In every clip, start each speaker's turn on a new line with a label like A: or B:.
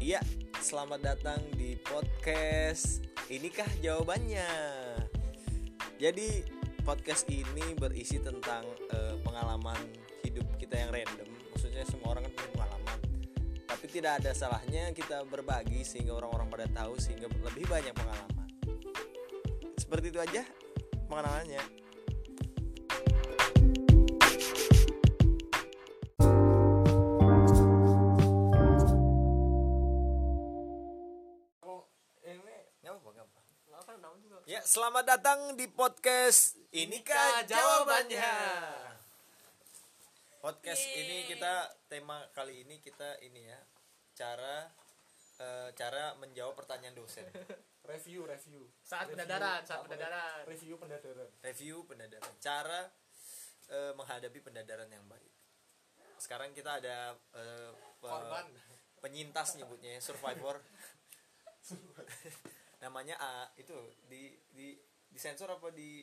A: Ya, selamat datang di podcast. Inikah jawabannya? Jadi podcast ini berisi tentang eh, pengalaman hidup kita yang random. Maksudnya semua orang kan punya pengalaman. Tapi tidak ada salahnya kita berbagi sehingga orang-orang pada tahu sehingga lebih banyak pengalaman. Seperti itu aja pengenalannya. Ya, selamat datang di podcast Inikah Jawabannya. Podcast ini kita tema kali ini kita ini ya, cara eh, cara menjawab pertanyaan dosen.
B: review review
C: Saat pendadaran, saat pendadaran.
B: review pendadaran
A: Review pendadaran. Cara eh, menghadapi pendadaran yang baik. Sekarang kita ada eh, pe-
C: Korban.
A: penyintas nyebutnya ya, survivor. Namanya A itu di di di sensor apa di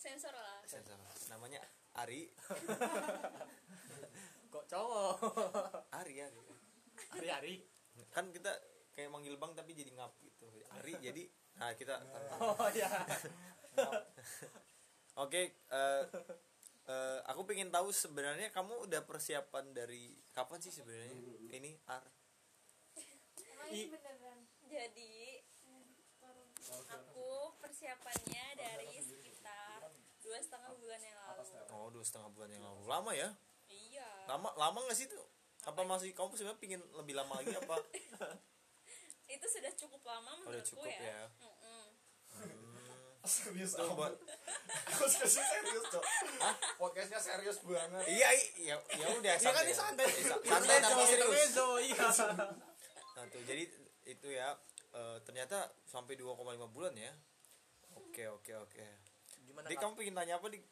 D: sensor lah
A: sensor? Namanya Ari.
C: Kok cowok?
A: Ari Ari.
C: Hari-hari.
A: Kan kita kayak manggil bang tapi jadi ngap gitu. Ari jadi nah kita
C: Oh ya.
A: Oke, eh, eh, aku pengen tahu sebenarnya kamu udah persiapan dari kapan sih sebenarnya ini Ar?
D: Iya.
E: Iya,
C: I-
D: jadi aku persiapannya dari sekitar dua setengah bulan yang lalu
A: Oh dua setengah bulan yang lalu lama ya?
D: iya
A: Lama lama nggak sih itu? Apa masih kamu sebenarnya pingin lebih lama lagi apa?
D: itu sudah cukup lama
A: Udah
D: menurutku
A: cukup
D: ya,
A: ya.
D: Mm-mm.
C: Hmm.
B: serius
A: Tuh, buat
B: aku serius serius cok podcastnya serius banget
A: iya i- ya ya udah
C: Iya kan ini
A: ya.
C: santai.
A: Sa- santai tapi serius.
C: Mezo, iya.
A: Nah tuh jadi itu ya eh, ternyata sampai 2,5 bulan ya. Oke oke oke.
C: Gimana?
A: Dik
C: Kak?
A: kamu pingin tanya apa dik?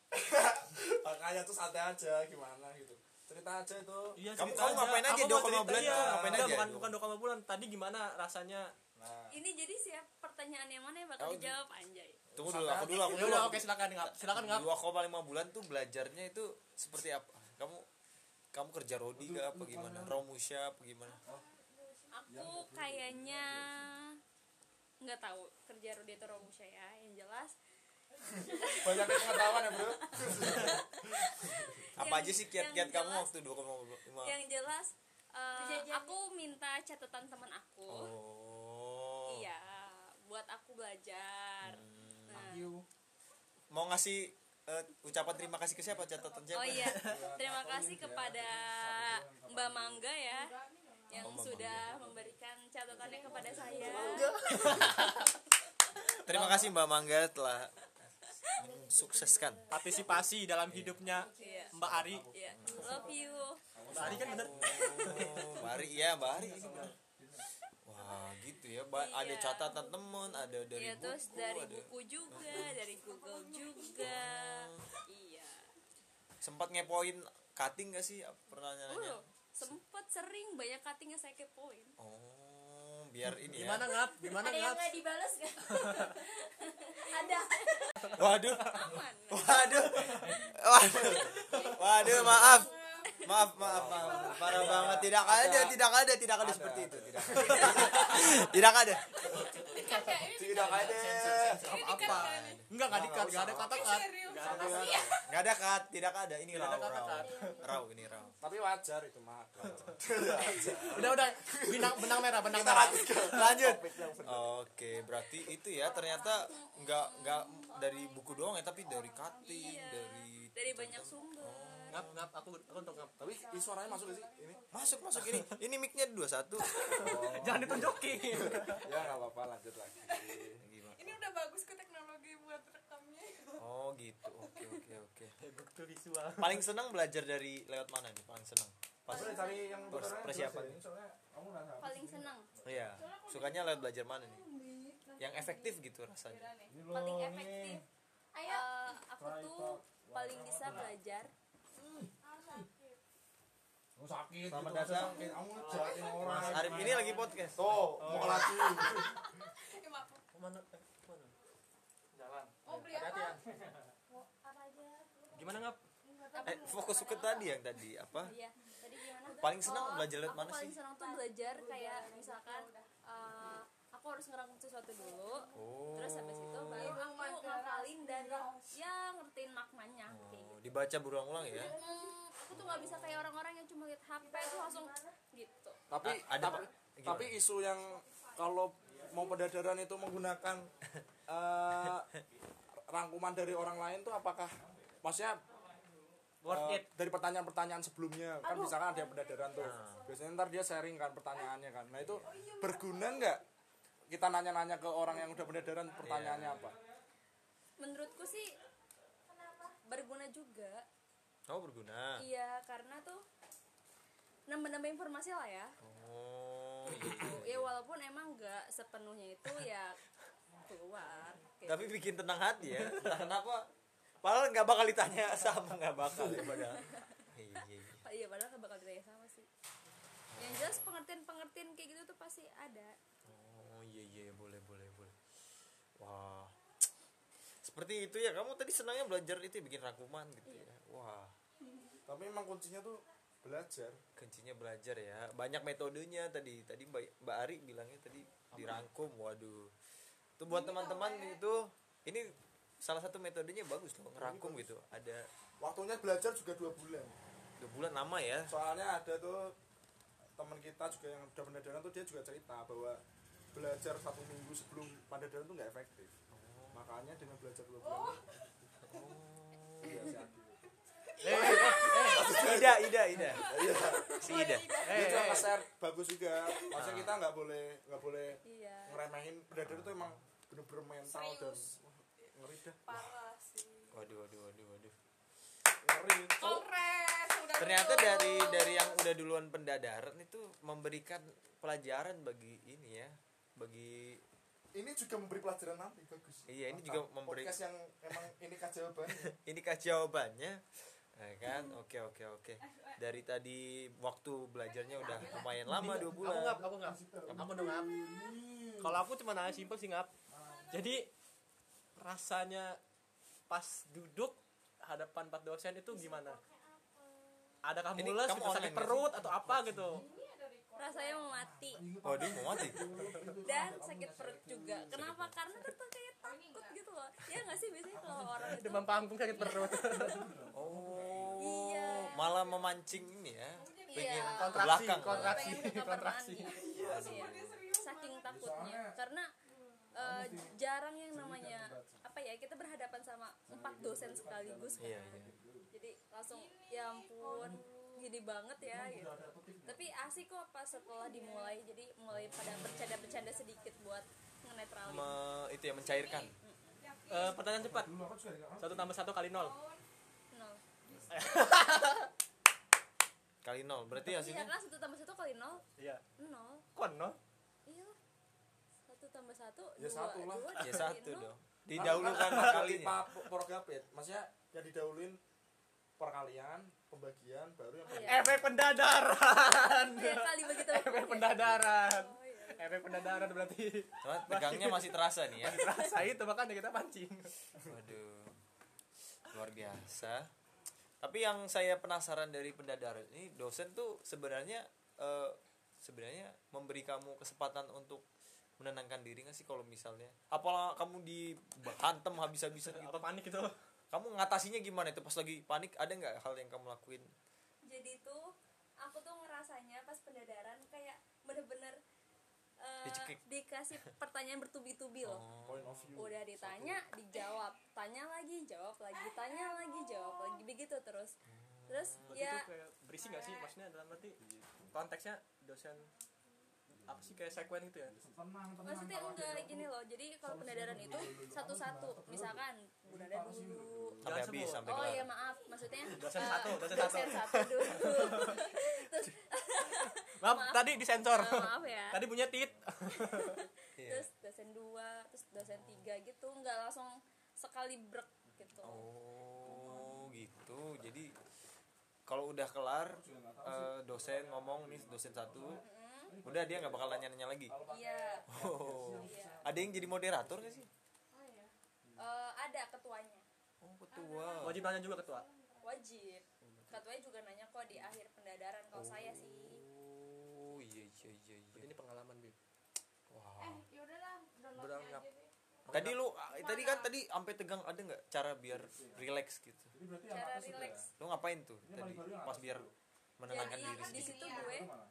B: makanya tuh santai aja gimana gitu cerita aja itu
C: Iya,
A: Kamu-
C: cerita
A: kamu ngapain aja
C: Kamu
A: dua
C: mau
A: koma
C: cerita,
A: bulan,
C: iya.
A: kamu ngapain
C: Enggak,
A: aja?
C: Bukan bukan dua koma bulan. Tadi gimana rasanya?
B: nah
D: ini jadi siap pertanyaan yang mana yang
A: Oh,
D: bakal
A: di-
D: dijawab anjay
A: Tunggu dulu aku dulu aku
C: Ya
A: dulu.
C: udah, oke silakan ngap. Silakan ngap.
A: dua koma lima bulan tuh belajarnya itu seperti apa kamu kamu kerja rodi gak apa gimana romusya apa gimana
D: aku kayaknya nggak tahu kerja Rudi atau Romusya ya yang jelas
B: banyak pengetahuan ya bro
A: apa
D: Yang-
A: aja sih
D: yang
A: kiat-kiat kamu
D: jelas-
A: waktu dua koma lima
D: yang jelas eh,
E: Perjanjian.
D: aku minta catatan teman aku
A: oh Hmm.
D: Iya, buat aku belajar. Nah,
A: mau ngasih eh, ucapan terima kasih ke siapa catatan siapa
D: Oh iya, terima kasih kepada Mbak Mangga ya yang
A: Mbak
D: sudah memberikan catatannya kepada
E: Iya.
D: saya.
A: terima kasih mbak Mangga telah mensukseskan
C: Partisipasi dalam hidupnya
D: Iya.
C: Mbak Ari.
D: Iya, love you.
C: Mbak Ari kan bener.
A: oh, mbak Ari ya mbak Ari ini benar. wah gitu ya Mbak. ada
D: Iya.
A: catatan temen ada dari
D: Iya,
A: buku
D: terus dari
A: ada Oh.
D: buku juga, dari Google juga. Iya.
A: sempat ngepoin cutting gak sih pernah nanya
D: Oh, sempet sering banyak cuttingnya saya kepoin.
A: Oh, biar ini ya.
C: Gimana ngap? Gimana
E: ada yang
C: ngap?
E: nggak dibalas nggak ada
A: Waduh,
D: Aman.
A: Oh, waduh, waduh, waduh, maaf, maaf, maaf, maaf, parah banget. Tidak ada, tidak ada, tidak ada, seperti itu. Tidak ada. tidak ada.
D: Kakak ini
B: tidak ada
C: Apa? Enggak, enggak dikat, enggak ada kata kat. Enggak ada kata
D: ya.
C: kat.
A: Nggak ada kat, tidak ada. Ini
C: Tidak
A: raw,
C: ada
A: raw,
C: kata-kata.
A: raw ini raw.
B: tapi wajar itu mah
C: Udah, udah. Benang benang merah, benang
B: kita
C: merah.
B: lanjut lanjut
A: Oke, berarti itu ya ternyata nggak nggak dari buku doang ya, tapi dari cutting,
D: Iya.
A: dari
D: dari banyak sumber.
C: Ngap, ngap. Aku aku untuk ngap.
B: tapi ini suaranya masuk gak sih ini
A: masuk masuk ini ini micnya dua satu.
C: Jangan ditunjukin.
B: Oh. ya nggak apa-apa lanjut lagi
E: ini udah bagus ke teknologi buat rekamnya
A: Oh gitu, oke oke oke.
C: Bukti visual.
A: Paling senang belajar dari lewat mana nih? Paling senang. Pas
B: Boleh cari yang
A: Pers-
B: beneran
A: persiapan.
B: jelas ya, ini soalnya kamu nggak tahu.
D: Paling senang,
A: Iya. Sukanya lewat belajar mana nih? Yang efektif gitu rasanya.
B: Ini loh,
D: paling
B: ini.
D: efektif.
E: ayo
D: Eh, aku tuh paling bisa belajar
E: Ah,
B: Oh, sakit
A: Selamat
B: gitu,
A: datang.
B: sakit. kamu jahatin orang
A: Mas Arif ini lagi Oh. podcast.
B: tuh mau lagi
E: Ya, maaf.
C: Kemana? eh, Kemana? Jalan.
E: mau beli apa
F: ya?
A: ya.
C: Gimana ngap?
A: Eh, fokus ke tadi yang tadi apa?
D: Iya, tadi dia gimana
A: Paling senang
D: Oh,
A: belajar lewat
D: aku
A: mana
D: paling
A: sih?
D: senang tuh belajar kayak misalkan eh, aku harus ngerangkum sesuatu dulu
A: Oh.
D: terus habis itu baru
E: Ilmu
D: aku
E: madras,
D: ngapalin dan
E: miras.
D: ya ngertiin maknanya
A: Oh.
D: kayak gitu
A: dibaca berulang-ulang ya.
D: Hmm, aku tuh gak bisa kayak orang-orang yang cuma lihat HP tuh langsung gitu
B: tapi
A: A- ada
B: tapi,
A: Pak. Gimana?
B: tapi isu yang kalau mau pendadaran itu menggunakan eh, rangkuman dari orang lain tuh apakah maksudnya eh,
F: Worth it.
B: dari pertanyaan-pertanyaan sebelumnya kan
E: Aduh.
B: misalkan ada yang pendadaran tuh biasanya ntar dia sharing kan pertanyaannya kan nah itu berguna nggak kita nanya-nanya ke orang yang udah pendadaran pertanyaannya
F: Iya.
B: apa
D: menurutku sih berguna juga
A: Oh, berguna.
D: iya karena tuh nambah-nambah informasi lah ya
A: Oh. iya.
D: Tuh, ya walaupun emang nggak sepenuhnya itu ya keluar kayak
A: Tapi bikin tenang hati ya. Entah kenapa padahal nggak bakal ditanya sama nggak bakal ya padahal. Iya, iya, iya.
D: Pa- Iya padahal gak bakal ditanya sama sih Yang jelas pengertian-pengertian kayak gitu tuh pasti ada
A: Oh iya iya boleh boleh boleh. Wah. Seperti itu ya. Kamu tadi senangnya belajar itu ya, bikin rangkuman gitu ya. Wah,
B: tapi emang kuncinya tuh belajar
A: kuncinya belajar ya. Banyak metodenya tadi. Tadi Mbak, Mbak Ari bilangnya tadi dirangkum. Waduh. Itu buat teman-teman itu ini salah satu metodenya bagus loh ngerangkum gitu. Ada
B: waktunya belajar juga dua bulan
A: dua bulan lama ya.
B: soalnya ada tuh teman kita juga yang udah pendadaran tuh dia juga cerita bahwa belajar satu minggu sebelum pendadaran tuh nggak efektif
F: Oh.
B: makanya dengan belajar dua bulan oh. iya sih Adi.
A: Ida Ida Ida.
B: Iya.
A: Si Ida.
B: dia
F: Eh,
B: juga
F: eh.
B: nge-share bagus juga
A: Ah.
B: maksudnya kita nggak boleh nggak boleh
D: Iya
B: ngeremehin pendadaran tuh emang bener-bener mental dan
E: Serius.
B: wah, ngeri dah
E: parah sih
A: Waduh waduh waduh waduh.
B: ngeri
E: kongres udah
A: ternyata
E: dulu.
A: dari dari yang udah duluan pendadaran itu memberikan pelajaran bagi ini ya bagi
B: ini juga memberi pelajaran nanti bagus
A: Iya, ini
B: Mantap.
A: juga memberi-
B: podcast yang emang ini kan jawabannya
A: ini kah jawabannya Eh, kan
D: Hmm.
A: oke oke
D: Eh,
A: oke dari tadi waktu belajarnya udah lumayan lama dua bulan
F: Aku ngap, aku ngap. Aku udah ngap. Ah. Kalau aku cuma nanya simpel sih ngap. Jadi rasanya pas duduk hadapan empat dosen itu gimana? Adakah
A: Ini
F: mules
A: kamu
F: gitu, sakit
A: online nggak sih?
F: perut atau apa gitu?
D: Rasanya
E: Oh,
D: mau mati
A: waduh Oh, mau mati
D: Dan sakit perut juga Kenapa? Karena tuh tuh kayak takut gitu loh Ya gak sih biasanya kalau orang itu
F: Demam panggung sakit perut.
A: oh
D: Iya.
A: malah memancing ini ya pengen
D: Iya.
A: ke
F: Kontraksi,
A: belakang
F: kontraksi.
D: pengen ke kamar
F: kontraksi.
D: mandi. Iya. Saking takutnya Karena eh, jarang yang namanya apa ya kita berhadapan sama empat dosen sekaligus kan
A: iya iya
D: jadi langsung ya ampun gini banget ya gitu tapi asik kok pas setelah dimulai jadi mulai pada bercanda-bercanda sedikit buat ngenetralin
A: Me- itu ya mencairkan
F: Eh, pertanyaan cepat. Satu tambah satu kali nol.
D: nol
A: kali nol berarti
D: iya
A: hasilnya
D: kan satu tambah satu kali nol
F: Iya.
D: nol
F: Kon nol.
D: iya satu tambah satu
B: Ya,
D: dua
B: satu lah.
D: dua
A: ya
D: dikali
A: satu
D: kan? nol.
A: dong didahulukan kalinya
B: Porogapit, maksudnya yang didahulin perkalian, pembagian, baru yang
D: Oh, iya.
F: Efek pendadaran.
D: oh, ya kali begitu
F: Efek pendadaran.
D: Oh, iya.
F: Efek pendadaran berarti
A: Cuma pegangnya masih terasa nih ya
F: rasa itu makanya kita pancing.
A: Waduh, luar biasa. Tapi yang saya penasaran dari pendadaran ini dosen tuh sebenarnya eh, sebenarnya memberi kamu kesempatan untuk menenangkan diri nggak sih kalau misalnya apalah kamu dihantam habis-habisan gitu
F: Apa panik itu?
A: kamu ngatasinya gimana itu pas lagi panik ada nggak hal yang kamu lakuin
D: jadi tuh aku tuh ngerasanya pas pendadaran kayak bener-bener eh,
A: Dicekik. Oh.
D: dikasih pertanyaan bertubi-tubi loh
B: point of view.
D: udah ditanya dijawab tanya lagi jawab lagi tanya lagi jawab lagi begitu terus terus
F: Berarti
D: ya
F: itu kayak berisi gak sih maksudnya dalam arti konteksnya dosen apa sih kayak sekuen gitu ya?
D: maksudnya enggak gini loh jadi kalau pendadaran itu satu-satu misalkan budada dulu
A: sampai
F: Jangan
A: habis
F: sebut.
A: sampai
D: oh
A: kelar
D: ya maaf maksudnya
F: Dosen
D: eh,
F: satu, dosen
D: dosen satu dulu terus
F: Maaf,
D: Maaf.
F: tadi disensor.
D: eh, maaf ya
F: tadi punya tit.
A: Iya.
D: terus dosen dua terus dosen tiga gitu enggak langsung sekali brek gitu
A: oh gitu jadi kalau udah kelar eh, dosen ngomong nih dosen satu udah dia nggak bakal nanya-nanya lagi
D: iya
A: Oh.
D: iya
A: Ada yang jadi moderator gak sih?
E: Oh, iya.
D: Eh, ada ketuanya
A: Oh, ketua.
F: Wajib nanya juga ketua.
D: wajib Fatwanya juga nanya kok di akhir pendadaran kalau saya sih
A: oh iya iya iya
F: Berarti ini pengalaman Bib.
A: wow
E: Eh, yaudahlah,
F: Udah,
E: downloadnya
F: nggak-
E: aja deh.
A: tadi lu ah, tadi kan tadi sampai tegang ada nggak cara biar relax gitu
G: Jadi berarti
B: Iya,
G: yang
D: cara
G: atas sudah.
D: relax
A: lu ngapain tuh
G: Ini
A: tadi
G: paling baru yang
A: pas
G: atas
A: biar
G: dulu.
A: menenangkan
D: Jadi,
A: diri
D: Ya, kan di
A: sedikit
D: situ
E: Iya.
D: gue
G: Itu mana?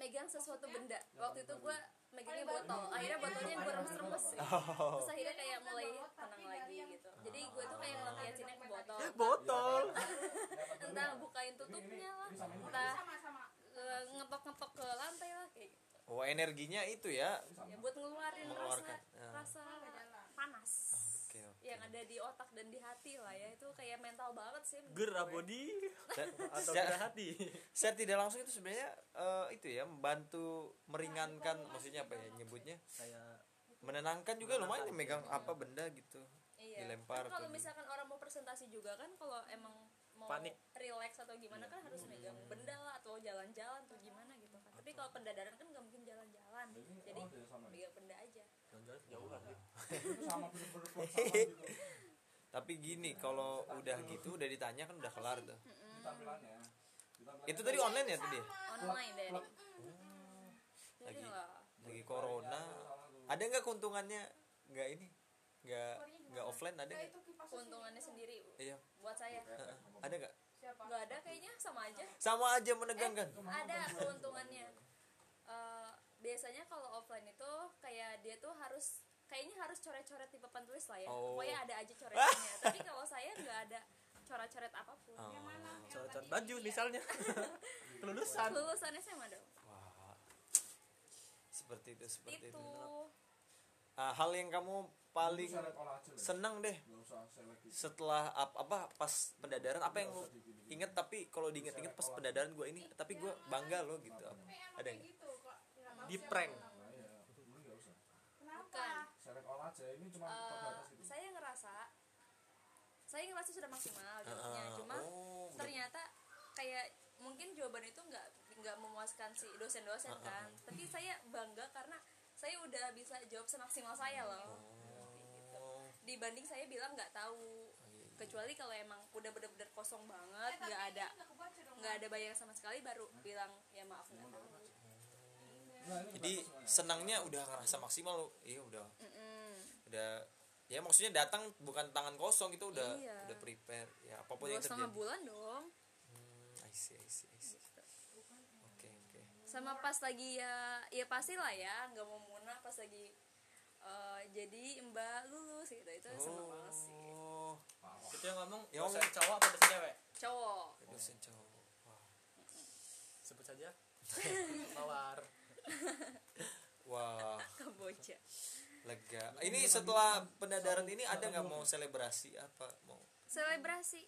D: megang sesuatu benda waktu itu gue megangnya botol
E: Paling
D: akhirnya
E: bagus.
D: botolnya gue remes-remes gitu.
A: Oh,
D: terus akhirnya kayak mulai tenang lagi gitu jadi gue tuh kayak ngeliatinnya ke botol
G: Iya, kan
F: Botol.
B: ya.
D: entah bukain tutupnya lah entah
E: Sama-sama.
D: eh, ngetok-ngetok ke lantai lah kayak gitu.
A: oh energinya itu ya
D: ya buat ngeluarin rasa
A: Mengeluarkan. Ah.
D: rasa
E: Adalah.
D: panas
A: oke oke
D: yang ada di otak dan di hati lah ya itu kayak mental banget sih menurut
F: Gerah
D: gue.
F: body
A: Saya-
F: atau
A: saya-
F: gerah hati.
A: secara tidak langsung itu sebenarnya eh, itu ya membantu
D: Nah,
A: meringankan maksudnya apa ya nyebutnya
F: Kayak
A: menenangkan juga lumayan ya,
F: Menenangkan.
A: megang apa benda gitu
D: iya
A: dilempar
D: kan kalau
A: tuh.
D: misalkan orang mau presentasi juga kan kalau emang mau
F: Panik.
D: relax atau gimana kan harus megang benda lah atau jalan-jalan atau gimana gitu kan tapi kalau pendadaran kan nggak mungkin jalan-jalan
G: Ini
D: jadi
G: oh, dari sana ya?
D: megang benda aja
F: jalan-jalan jauhan Bib.
G: Itu sama bener-bener plot sama gitu.
A: tapi gini kalau udah gitu udah ditanya kan udah kelar tuh
G: Di tampilannya. Di tampilannya
A: itu tadi online ya tadi ya?
D: online deh
G: plot-
D: jadi
A: Lagi.
D: lah
A: lagi corona
G: salah tuh.
A: ada nggak keuntungannya nggak ini nggak nggak offline ada
E: Nah,
A: nggak
E: itu kipas
D: keuntungannya sendiri
A: iya
D: buat saya
A: ada nggak
E: Siapa?
D: nggak ada kayaknya sama aja
A: sama aja menegangkan
D: ada keuntungannya Eh, biasanya kalau offline itu kayak dia tuh harus kayaknya harus coret-coret di papan tulis lah ya
A: Oh.
D: pokoknya ada aja coretannya tapi kalau saya nggak ada coret-coret apapun
A: Oh.
E: Yang mana? Yang
F: Coret-coret
E: tadi? ya.
F: baju misalnya. Kelulusan.
D: lulusan SMA dong
A: wah seperti itu seperti itu
D: itu
A: Ah, hal yang kamu paling
G: Bisa lihat olah aja lah.
A: senang deh
G: Nggak usah select gitu.
A: setelah ap- apa pas pendadaran apa yang lu inget tapi kalau diinget-inget pas pendadaran gue ini tapi gue bangga lo gitu
B: Iya,
E: Tapi emang
A: Ada
E: kayak
A: nggak?
E: gitu kok. Nggak tahu
F: Di
E: siapa
F: prank.
E: yang
G: Nah, ya. Ini nggak usah.
E: Kenapa? Eh,
D: Bukan.
G: Select olah aja. Ini cuma
D: eh,
G: terbatas gitu.
D: saya ngerasa saya ngerasa sudah maksimal jawabnya
A: Ah,
D: cuma
A: oh, udah.
D: ternyata kayak mungkin jawaban itu nggak nggak memuaskan si dosen-dosen kan tapi saya bangga karena saya udah bisa jawab semaksimal saya loh
A: Oh,
D: dibanding saya bilang nggak tahu kecuali kalau emang udah bener-bener kosong banget
E: Eh, tapi
D: nggak ada
E: ini nggak kebaca dong.
D: nggak ada bayang sama sekali baru bilang ya maaf nggak tahu
G: Nah, ini
A: jadi
G: terbatas soalnya.
A: senangnya udah ngerasa maksimal lo iya udah
D: Mm-mm.
A: udah ya maksudnya datang bukan tangan kosong itu udah
D: Iya.
A: udah prepare ya apapun
D: dua
A: yang
D: setengah
A: terjadi
D: bulan dong
A: Hmm, I see, I see, I see.
D: Gitu.
A: oke oke
D: sama pas lagi ya ya pastilah ya nggak mau munah pas lagi eh, jadi mbak lulus gitu itu seneng banget sih
A: oh
F: Itu yang ngomong
A: Yang
F: dosen
A: Ya, ngomong.
F: cowok apa dosen cewek?
D: cowok
A: dosen cowok Wah.
F: Sebut saja. Mawar.
A: wah
D: keboja
A: lega ini setelah pendadaran ini ada nggak mau selebrasi apa mau
D: selebrasi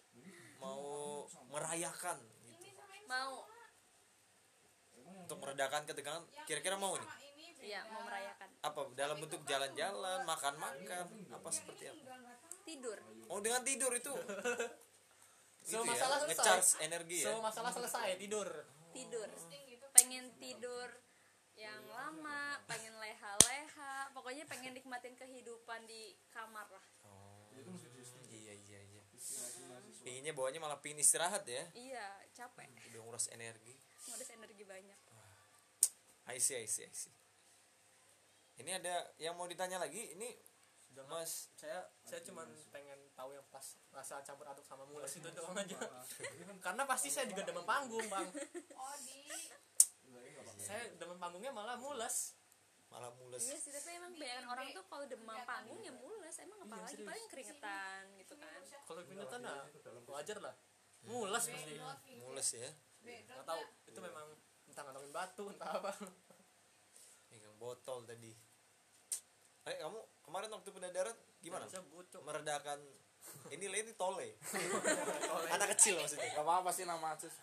A: mau merayakan gitu
E: Ini sama ini
D: mau
A: untuk meredakan ketegangan
E: Yang
A: kira-kira
E: ini
A: mau
E: sama
A: nih
E: ini beda.
D: ya mau merayakan
A: apa dalam bentuk jalan-jalan makan-makan apa
E: Yang
A: seperti
E: ini
A: apa
E: nggak- nggak tahu.
D: tidur
A: oh dengan tidur itu itu
F: Semua
A: ya
F: masalah selesai.
A: ngecharge energi ya
F: Semua masalah selesai tidur.
D: tidur
E: Ting gitu.
D: pengen tidur yang lama pengen leha-leha pokoknya pengen nikmatin kehidupan di kamar lah
A: oh,
G: Itu mesti di-
A: iya iya iya
G: distimulasi mahasiswa.
A: pinginnya bawahnya malah pingin istirahat ya
D: iya capek
A: udah nguras energi
D: ngurus energi banyak
A: I see I see I see ini ada yang mau ditanya lagi ini
F: Jangan
A: mas
F: saya saya cuman pengen tahu yang pas rasa campur aduk sama mules itu doang aja.
B: kan-
F: Karena pasti saya juga demam panggung, Bang.
E: Oh, di
G: Nah,
B: iya,
G: ini nggak apa-apa.
F: Saya demam panggungnya malah mules.
A: malah mules
D: iya sih tapi emang kebanyakan orang tuh kalau demam panggung ya mules emang apalagi
F: serius.
D: paling keringetan gitu kan
F: Kalau keringetan nah wajar lah. Mules pasti.
E: bedot gitu.
A: mules ya
E: Bedot
F: Nggak tahu
E: nggak?
F: itu memang entah ngalangin batu entah apa.
A: megang botol tadi eh kamu kemarin waktu pendadaran gimana
F: Saya butuh.
A: meredakan ini lah, ini tole anak kecil maksudnya
B: Gak apa-apa sih nama aja sih.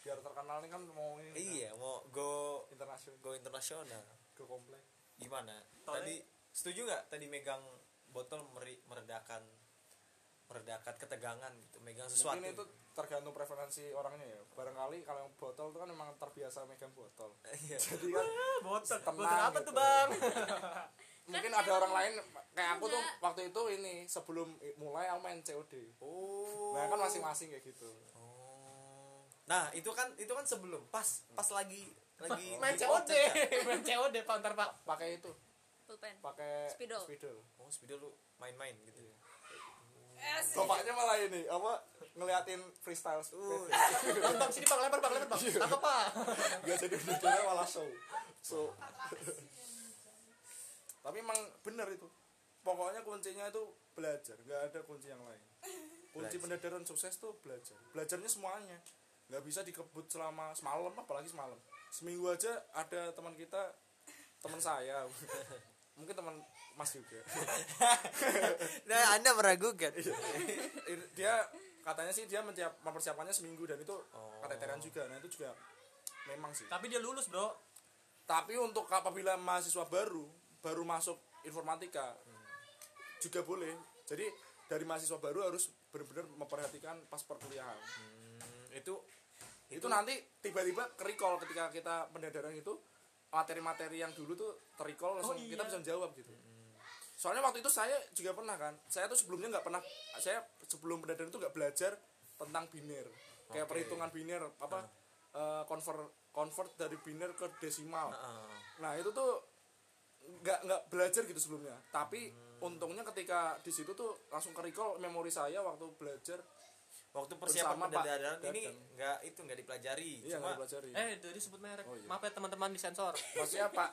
B: Biar terkenal nih kan mau ini.
A: iya mau go
B: Internasional
A: go internasional
B: ke komplek.
A: gimana
F: Tole.
A: tadi setuju nggak tadi megang botol meri, meredakan meredakan ketegangan gitu megang sesuatu
B: Mungkin itu tergantung preferensi orangnya ya. Barangkali kalau yang botol itu kan memang terbiasa megang botol.
A: iya
B: Jadi kan
F: Botol.
B: Tenang
F: Botol apa
B: gitu.
F: tuh, Bang?
B: mungkin ada
D: Kan emang-
B: orang lain kayak aku tuh
D: Enggak.
B: waktu itu ini sebelum i- mulai aku main COD.
A: oh
B: Nah, kan Nah, masing-masing kayak gitu.
A: Oh. Nah, itu kan itu kan sebelum pas pas lagi lagi
F: main
A: di
F: COD
A: Ocek, ya?
F: main COD pak ntar pak
B: pakai itu
D: pulpen
B: pakai
D: Spidol.
A: Oh, spidol lu main-main gitu.
E: Asik.
B: Bapaknya malah ini apa ngeliatin freestyle
A: Uh,
B: tuh
F: bang bang sini bang lempar bang lempar bang apa pak
B: nggak jadi videonya malah show so tapi emang bener itu pokoknya kuncinya itu belajar nggak ada kunci yang lain kunci
A: Belajar.
B: pendadaran sukses tuh belajar belajarnya semuanya nggak bisa dikebut selama semalam apalagi semalam seminggu aja ada teman kita teman saya mungkin teman mas juga
A: nah, Anda meragukan.
B: dia katanya sih dia menyiap, mempersiapkannya seminggu dan itu
A: Oh.
B: keteteran juga nah itu juga memang sih
F: tapi dia lulus bro
B: Tapi untuk apabila mahasiswa baru baru masuk informatika juga boleh. Jadi dari mahasiswa baru harus benar-benar memperhatikan pas perkuliahan.
A: Hmm, itu
B: Itu, nanti tiba-tiba kerikol ketika kita pendadaran itu materi-materi yang dulu tuh terikol langsung
F: iya.
B: kita bisa jawab gitu. Soalnya waktu itu saya juga pernah kan. Saya tuh sebelumnya nggak pernah saya sebelum pendadaran itu nggak belajar tentang biner.
A: Oke.
B: Kayak perhitungan biner apa eh, convert convert dari biner ke desimal.
A: Heeh.
B: Nah itu tuh nggak nggak belajar gitu sebelumnya. Tapi untungnya ketika di situ tuh langsung ke recall memori saya waktu belajar.
A: waktu persiapan
B: Bersama Pak
A: pendadaran ini
B: Dadang.
A: enggak itu enggak dipelajari.
B: Iya
A: Cuma
B: nggak pelajari.
F: eh jadi sebut merek
B: Oh, iya.
F: maaf ya teman-teman di sensor
B: Maksudnya Pak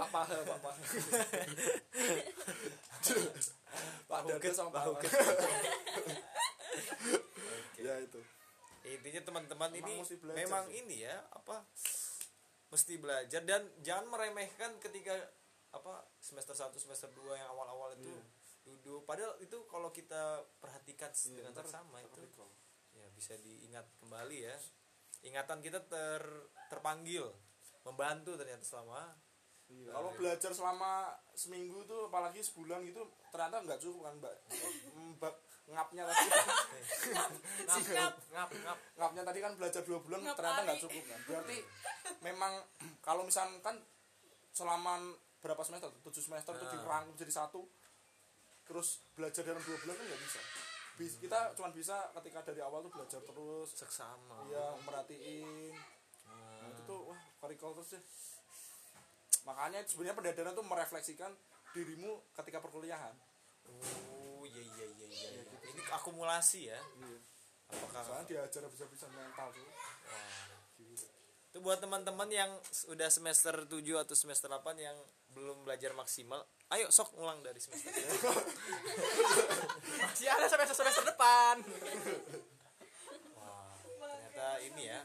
B: Pak Pahe, Pak Pahe. Pak Dada sama Pak Pahe. ya itu.
A: intinya teman-teman
B: Memang
A: ini
B: mesti belajar
A: memang
B: sih.
A: ini ya apa mesti belajar dan jangan meremehkan ketika apa semester 1 semester 2 yang awal-awal itu
B: Iya.
A: duduk padahal itu kalau kita perhatikan
B: Iya,
A: dengan
B: ntar
A: seksama itu
B: recall.
A: ya bisa diingat kembali ya ingatan kita ter terpanggil membantu ternyata selama
B: Iya, Kalau belajar selama seminggu tuh apalagi sebulan gitu ternyata nggak cukup kan Mbak. Mbak ngapnya tadi.
F: ngap ngap ngap ngap
B: ngapnya tadi kan belajar dua bulan
E: Ngap
B: ternyata
E: ari.
B: nggak cukup kan berarti memang kalau misalkan kan selama berapa semester tujuh semester itu
A: Nah.
B: dirangkum jadi satu terus belajar dalam dua bulan kan nggak bisa Bis- kita cuma bisa ketika dari awal tuh belajar terus
A: seksama
B: ya merhatiin nah, itu tuh wah karikol terus deh makanya sebenarnya pendadaran tuh merefleksikan dirimu ketika perkuliahan
A: oh iya iya iya iya, iya.
B: gitu.
A: ini akumulasi ya apakah
B: soalnya diajar bisa-bisa mental tuh
A: Wah.
B: Gila.
A: Itu buat teman-teman yang udah semester 7 atau semester 8 yang belum belajar maksimal, ayo sok ulang dari semester.
F: masih ada sampai semester depan
A: Wah, ternyata ini ya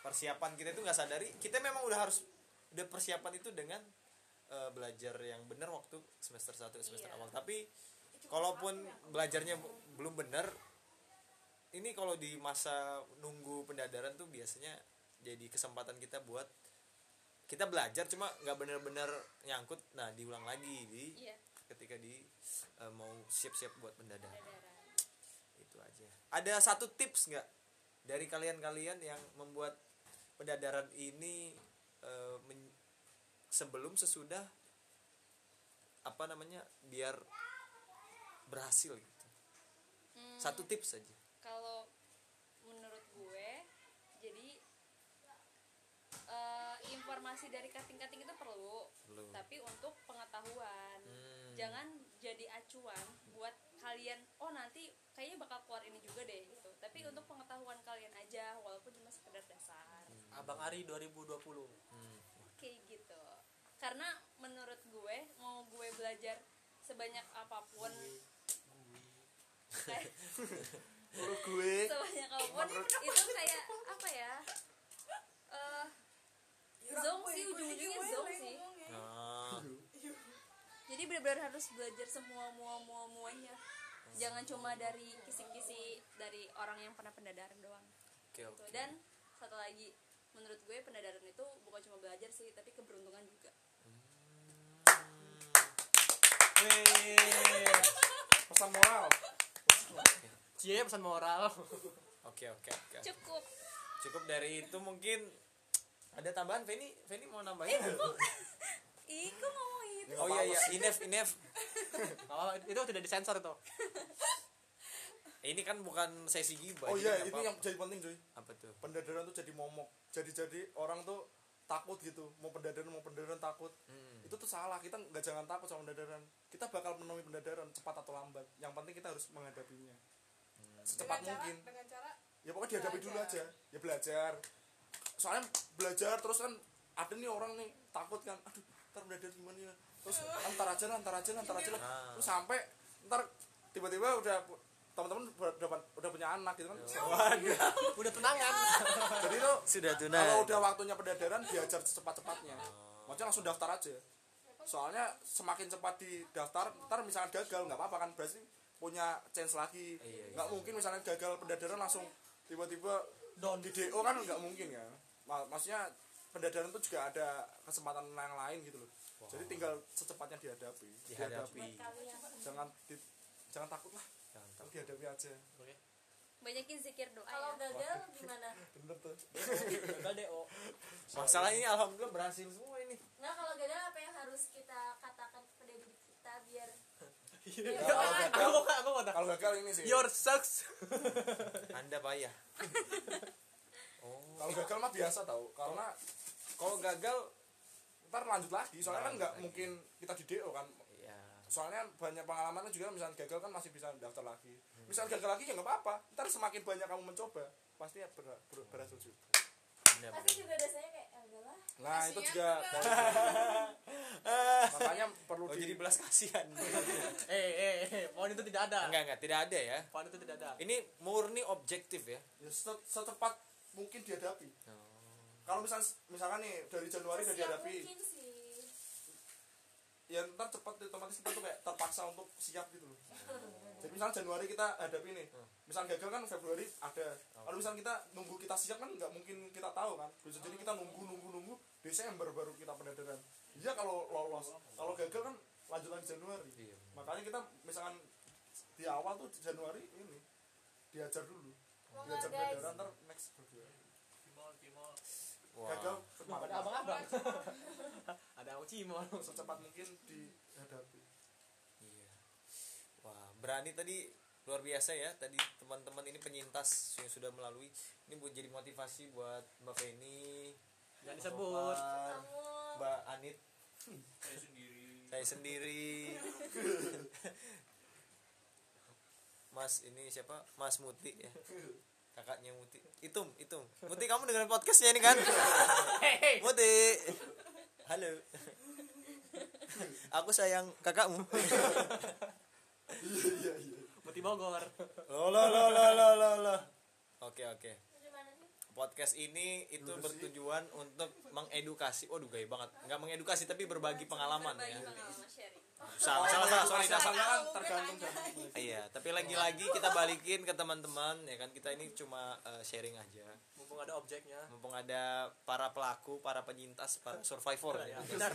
A: persiapan kita itu nggak sadari, kita memang udah harus udah persiapan itu dengan eh, belajar yang benar waktu semester 1 semester
D: Iya.
A: awal. Tapi kalaupun belajarnya bu- belum benar ini kalau di masa nunggu pendadaran tuh biasanya jadi kesempatan kita buat kita belajar cuma nggak benar-benar nyangkut nah diulang lagi di
D: iya
A: ketika di eh, mau siap-siap buat pendadaran
D: pendadaran
A: itu aja ada satu tips nggak dari kalian-kalian yang membuat pendadaran ini eh, men- sebelum sesudah apa namanya biar berhasil gitu
D: Hmm,
A: satu tips saja
D: kalau menurut gue jadi eh, informasi dari kating-kating itu perlu
A: Belum.
D: tapi untuk pengetahuan
A: Hmm.
D: jangan jadi acuan buat kalian oh nanti kayaknya bakal keluar ini juga deh gitu tapi untuk pengetahuan kalian aja walaupun cuma sekedar dasar
F: abang Ari 2020
A: Hmm.
D: kayak gitu karena menurut gue mau gue belajar sebanyak apapun kayak
B: menurut gue
D: sebanyak apapun itu kayak apa ya Eh,
B: Ya,
D: zong sih ujung-ujungnya zong sih
A: Nah,
D: jadi benar-benar harus belajar semua mua mua muanya jangan cuma dari kisi-kisi dari orang yang pernah pendadaran doang
A: oke oke. Hmm.
D: Gitu. dan satu lagi menurut gue pendadaran itu bukan cuma belajar sih tapi keberuntungan juga
F: Wih.
B: pesan moral
F: Cie pesan moral
A: Oke oke oke.
B: Eh.
D: cukup
A: Cukup dari itu mungkin ada tambahan Feni, Feni mau nambahin?
B: Eh,
D: ih kok ngomong
B: Ya,
H: gitu?
A: Iya.
D: itu
A: oh iya iya, Inef Inef.
F: Gak apa-apa, itu tidak disensor itu
A: ini kan bukan sesi gibah
B: oh
A: jadi
B: iya
A: nggak
B: ini
A: apa-apa.
B: yang jadi penting cuy
A: apa tuh
B: pendadaran tuh jadi momok jadi jadi orang tuh takut gitu mau pendadaran mau pendadaran takut
A: Hmm.
B: itu tuh salah kita nggak jangan takut sama pendadaran kita bakal menemui pendadaran cepat atau lambat yang penting kita harus menghadapinya secepat
A: Hmm.
E: Dengan cara-
B: mungkin
E: dengan cara
B: ya pokoknya dihadapi dulu aja
E: Belajar.
B: ya belajar soalnya belajar terus kan ada nih orang nih takut kan aduh ntar mendadak gimana ya terus antar aja lah antar aja lah antar aja lah
A: Ah.
B: terus sampai ntar tiba-tiba udah pu- teman-teman ber- udah, udah punya anak gitu kan
F: udah tunangan
B: jadi tuh
A: sudah tunai Oh,
B: kalau udah waktunya pendadaran diajar secepat-cepatnya maksudnya langsung daftar aja soalnya semakin cepat di daftar ntar misalnya gagal nggak apa-apa kan berarti punya chance lagi
A: Iya,
B: nggak mungkin misalnya gagal pendadaran langsung tiba-tiba
F: Down.
B: di DO kan nggak mungkin kan Ma- maksudnya pendadaran itu juga ada kesempatan yang lain gitu loh jadi tinggal secepatnya dihadapi
A: dihadapi
D: kalian
B: jangan di- jangan takut lah
A: Jangan takut.
B: dihadapi aja
D: banyakin zikir doa
H: Kalau
D: ya
H: gagal gimana?
B: bener tuh
F: gagal do
A: masalah ini alhamdulillah berhasil semua ini
H: Nah kalau gagal apa yang harus kita katakan kepada diri kita biar
F: aku mau aku mau dah.
B: kalau gagal ini sih
F: Iya, your sucks
A: anda payah oh
B: kalau gagal mah biasa tau karena kalau gagal ntar lanjut lagi soalnya kan
A: Lanjut
B: nggak
A: lagi.
B: mungkin kita di DO kan
A: ya
B: soalnya banyak pengalamannya juga misalnya gagal kan masih bisa daftar lagi misalnya gagal lagi ya nggak apa-apa ntar semakin banyak kamu mencoba pasti ya ber- ber- berhasil juga
A: Anda
H: pasti juga dasarnya kayak "Ah, enggak lah.
B: nah itu juga makanya perlu
A: Oh
B: di
A: jadi belas kasihan.
F: eh eh eh pohon itu tidak ada
A: enggak enggak tidak ada ya.
F: pohon itu tidak ada
A: Ini murni objektif ya.
B: ya, se- secepat mungkin dihadapi
A: Oh,
B: kalau misal misalkan nih dari Januari udah
H: Sesiap
B: dihadapi
H: mungkin Gitu sih.
B: ya ntar cepat otomatis kita tuh kayak terpaksa untuk siap gitu loh jadi misalnya Januari kita hadapi nih misalnya gagal kan Februari ada kalau misalnya kita nunggu kita siap kan nggak mungkin kita tahu kan bisa jadi kita nunggu nunggu nunggu Desember baru kita pendadaran iya kalau lolos kalau gagal kan lanjut lagi Januari
A: Iya.
B: makanya kita misalkan di awal tuh Januari ini diajar dulu
H: Mau nggak,
B: diajar
H: guys?
B: pendadaran ntar next Februari
A: Wah.
B: gagal
F: ada
B: kemarin
F: abang-abang ada aku cimol
B: secepat mungkin dihadapi
A: Iya. Wah, berani tadi luar biasa ya. Tadi teman-teman ini penyintas yang sudah melalui ini buat jadi motivasi buat Mbak Feni,
F: jangan disebut
A: Roman,
H: Kamu
A: Mbak Anit,
G: saya sendiri
A: saya sendiri. Mas ini siapa? Mas Muti ya. Kakaknya Muti. Itum, Itum. Muti kamu dengerin podcastnya ini kan?
F: Hei,
A: Muti. Halo. Aku sayang kakakmu.
B: iya iya
F: Muti Bogor.
A: Lo lo lo lo lo lo lo. Oke oke.
H: gimana sih?
A: Podcast ini itu bertujuan untuk mengedukasi. Waduh gaya banget. Nggak mengedukasi tapi berbagi pengalaman ya.
D: berbagi pengalaman sharing
A: Salah salah salah sorry
B: Masalahnya
A: salah.
B: kan
E: Tahu, gue
B: tergantung
E: tanya.
B: dari
A: Iya, tapi lagi-lagi kita balikin ke teman-teman ya kan kita ini cuma eh, sharing aja.
F: Mumpung ada objeknya.
A: Mumpung ada para pelaku, para penyintas, para survivor ya.
F: Ya, benar.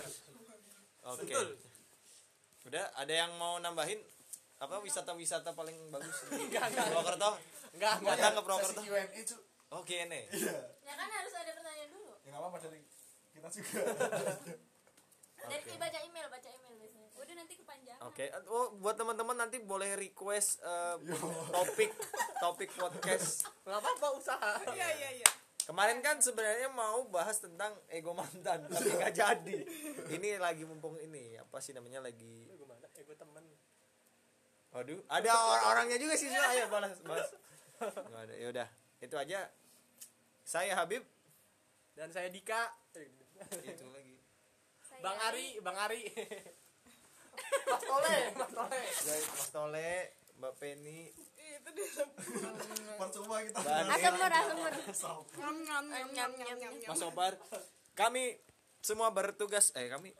A: Oke.
F: Betul.
A: Udah ada yang mau nambahin apa wisata-wisata paling bagus di
F: Enggak, enggak.
A: Purwokerto?
F: Enggak, enggak.
A: Datang ke Purwokerto.
B: Sesi Q&A cu
A: Oke nih.
B: Iya
H: Ya kan harus ada pertanyaan dulu.
B: Ya gak apa-apa dari kita juga
H: Nanti baca email, baca email biasanya.
D: udah nanti kepanjangan
A: Oke, oh, buat teman-teman nanti boleh request eh, topik topik podcast.
F: Enggak apa-apa usaha.
E: Iya iya iya.
A: Kemarin kan sebenarnya mau bahas tentang ego mantan, tapi nggak jadi. Ini lagi mumpung ini apa sih namanya lagi?
F: Gue mana? Eh, gue temen.
A: Waduh, ada orang-orangnya juga sih. Sila. Ayo balas, balas. Nggak ada. Ya udah, itu aja. Saya Habib.
F: Dan saya Dika. Eh,
A: Itu lagi.
D: Saya-
F: Bang Ari, Bang Ari. Mas Tole, Mas Tole.
A: Mas Tole, Mbak Penny,
E: Ih, Itu dia.
B: Percuma kita
A: Mbak Anit,
D: asam mur asam mur
E: Nyam nyam nyam nyam nyam nyam.
A: Mas Obar. Kami semua bertugas. Eh kami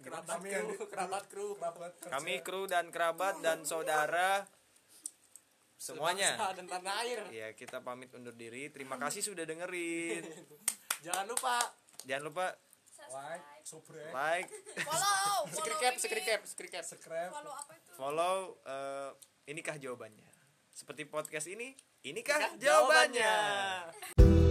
F: Kerabat kru, kerabat kru.
B: Kerabat
A: Kami kru dan kerabat dan saudara semuanya.
F: Bangsa Dan tanah air.
A: Ya, kita pamit undur diri. Terima kasih sudah dengerin.
F: Jangan lupa
A: Jangan lupa
B: Like Subrek
A: like,
E: Follow.
F: skrikep,
E: follow ini.
F: skrikep, skrikep.
B: Subscribe
E: Follow apa itu?
A: follow eh, inikah jawabannya. Seperti podcast ini, inikah
F: Nah, Jawabannya.
A: Nah, jawabannya.